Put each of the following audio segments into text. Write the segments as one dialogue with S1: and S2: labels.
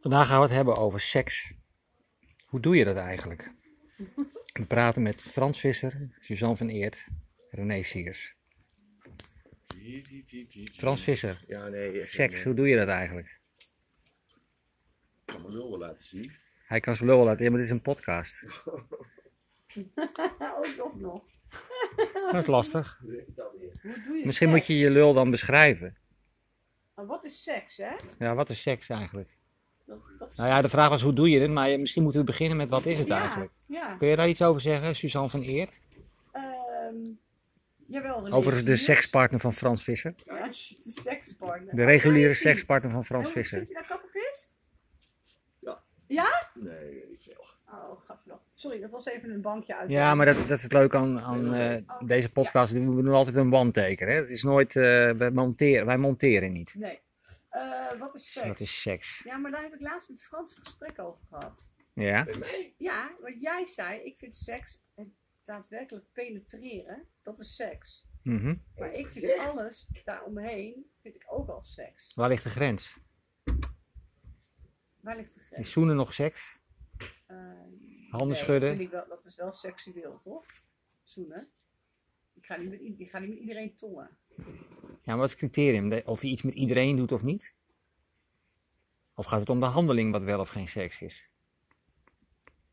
S1: Vandaag gaan we het hebben over seks. Hoe doe je dat eigenlijk? We praten met Frans Visser, Suzanne van Eert, René Siers. Frans Visser,
S2: Ja, nee. echt
S1: seks,
S2: niet,
S1: hoe doe je dat eigenlijk?
S2: Ik kan mijn lul wel laten zien.
S1: Hij kan zijn lul wel laten in, maar dit is een podcast.
S3: Ook nog nog.
S1: Dat is lastig.
S2: Doe ik dat weer.
S3: Hoe doe je
S1: Misschien
S3: seks?
S1: moet je je lul dan beschrijven.
S3: Maar wat is seks, hè?
S1: Ja, wat is seks eigenlijk?
S3: Dat, dat is...
S1: Nou ja, de vraag was hoe doe je dit, maar je- misschien moeten we beginnen met wat is het
S3: Ja,
S1: eigenlijk?
S3: Ja.
S1: Kun je daar iets over zeggen, Suzanne van Eert?
S3: Ehm jawel. René
S1: Overigens de
S3: Siers.
S1: sekspartner van Frans Visser.
S3: Ja, dat is de sekspartner.
S1: De reguliere
S3: Daar is hij.
S1: sekspartner van Frans
S3: En hoe-
S1: Visser.
S3: Zit je daar kat op is?
S2: Nee, weet ik veel.
S3: Oh, gadverdamme. Sorry, dat was even een bankje uit.
S1: Ja, maar dat, dat is het leuke aan, aan eh, deze podcast. We doen altijd een one-taker. Hè? Het is nooit, eh, wij, monteren, wij monteren niet.
S3: Nee. Eh, wat is seks?
S1: Dat is seks.
S3: Ja, maar daar heb ik laatst met Frans een gesprek over gehad.
S1: Ja.
S2: Bij mij?
S3: Ja, wat jij zei, ik vind seks en daadwerkelijk penetreren, dat is seks.
S1: Mhm.
S3: Maar ik vind alles daaromheen, vind ik ook al seks.
S1: Waar ligt de grens?
S3: Waar ligt de grens?
S1: Is zoenen nog seks?
S3: Eh,
S1: Handen
S3: Nee, Dat,
S1: schudden?
S3: vind ik wel, dat is wel seksueel, toch? Zoenen. Ik ga niet met, i- ik ga niet met iedereen tongen.
S1: Ja, maar wat is het criterium? De- Of je iets met iedereen doet of niet? Of gaat het om de handeling wat wel of geen seks is?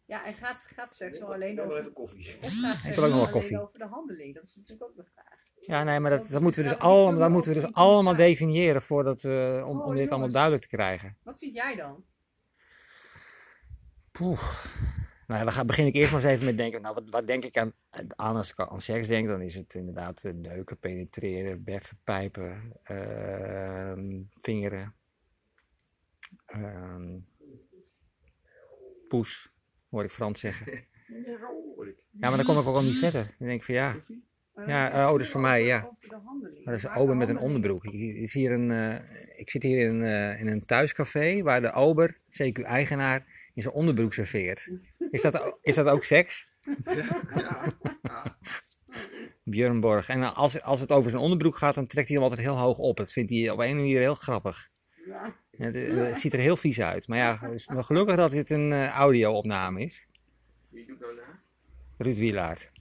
S3: Ja, en gaat, gaat seks wel
S2: Ik
S3: alleen
S2: wil
S3: over...
S2: even koffie.
S3: Of gaat seks
S1: wil ook nog
S3: wel
S1: wel
S3: alleen
S1: koffie.
S3: over de handeling? Dat is natuurlijk ook de vraag.
S1: Ja, nee, maar dat,
S3: Dat-
S1: dat moeten we dus,
S3: ja, dat is
S1: allemaal,
S3: ook
S1: dat
S3: nog
S1: moeten we dus
S3: een punt,
S1: allemaal
S3: ja.
S1: definiëren voordat we, om,
S3: Oh,
S1: om dit allemaal
S3: jongens.
S1: duidelijk te krijgen.
S3: Wat vind jij dan?
S1: Poeh. Nou ja, dan ga, begin ik eerst maar eens even met denken. Nou, wat, wat denk ik aan, aan als ik aan seks denk? Dan is het inderdaad eh, neuken, penetreren, beffen, pijpen, ehm, vingeren. ehm, poes, hoor ik Frans zeggen.
S2: Hoor ik.
S1: Ja, maar dan kom ik ook al niet verder. Dan denk ik van ja,
S2: Koffie?
S3: Maar
S1: Ja,
S3: dan
S1: eh, oh, dat
S3: gaat
S1: is
S3: het
S1: voor mij,
S3: over-
S1: ja.
S3: Over de handeling.
S1: maar dat is een
S3: Waar de
S1: ober met een
S3: handeling-
S1: onderbroek. Hier Is hier een, eh, ik zit hier in, eh, in een thuiscafé waar de ober, CQ-eigenaar, in zijn onderbroek serveert. Is dat, is dat ook seks?
S2: Ja.
S1: Björn Borg. En als, als het over zijn onderbroek gaat, dan trekt hij hem altijd heel hoog op. Dat vindt hij op een of andere manier heel grappig.
S3: Ja.
S1: En Het, eh, het ziet er heel vies uit. Maar ja, het is wel gelukkig dat dit een eh, audio-opname is.
S2: Wie doet nou na?
S1: Ruud Wielaert.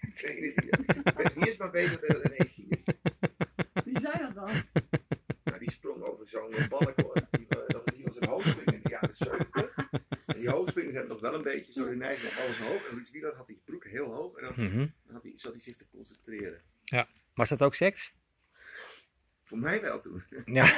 S2: Ik weet het niet. Ik weet niet eens maar beter dan René Siers.
S3: Wie zei dat dan?
S2: Nou, die sprong over zo'n balk hoor. Die, eh, dat die was een hoofdspring in de jaren 70. En die hoofdspringers hebben nog wel een beetje zo de neiging om alles hoog. En Ruud Wieland had die broek heel hoog. En dan,
S1: Mhm.
S2: dan had hij, zat hij zich te concentreren.
S1: Was dat ook seks?
S2: Voor mij wel toen.
S1: Ja.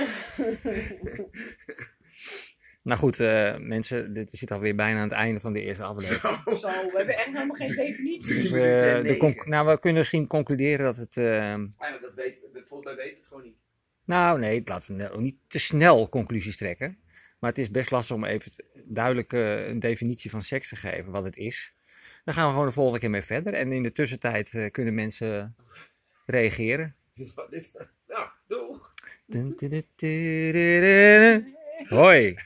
S1: nou goed, eh, mensen, dit, we zitten alweer bijna aan het einde van de eerste aflevering.
S3: Zo, we hebben echt helemaal geen definitie.
S1: Dus,
S2: Drie minuten en
S1: eh, de
S2: negen.
S1: conc- nou, we kunnen misschien concluderen dat het... eh,
S2: Eigenlijk, dat weet, volgens mij weten we het gewoon niet.
S1: Nou, nee, laten we ook niet te snel conclusies trekken. Maar het is best lastig om even t- duidelijk eh, een definitie van seks te geven, wat het is. Daar gaan we gewoon de volgende keer mee verder. En in de tussentijd eh, kunnen mensen reageren.
S2: Nou, doeg!
S1: Dun, dun, dun, dun, dun, dun. Hoi!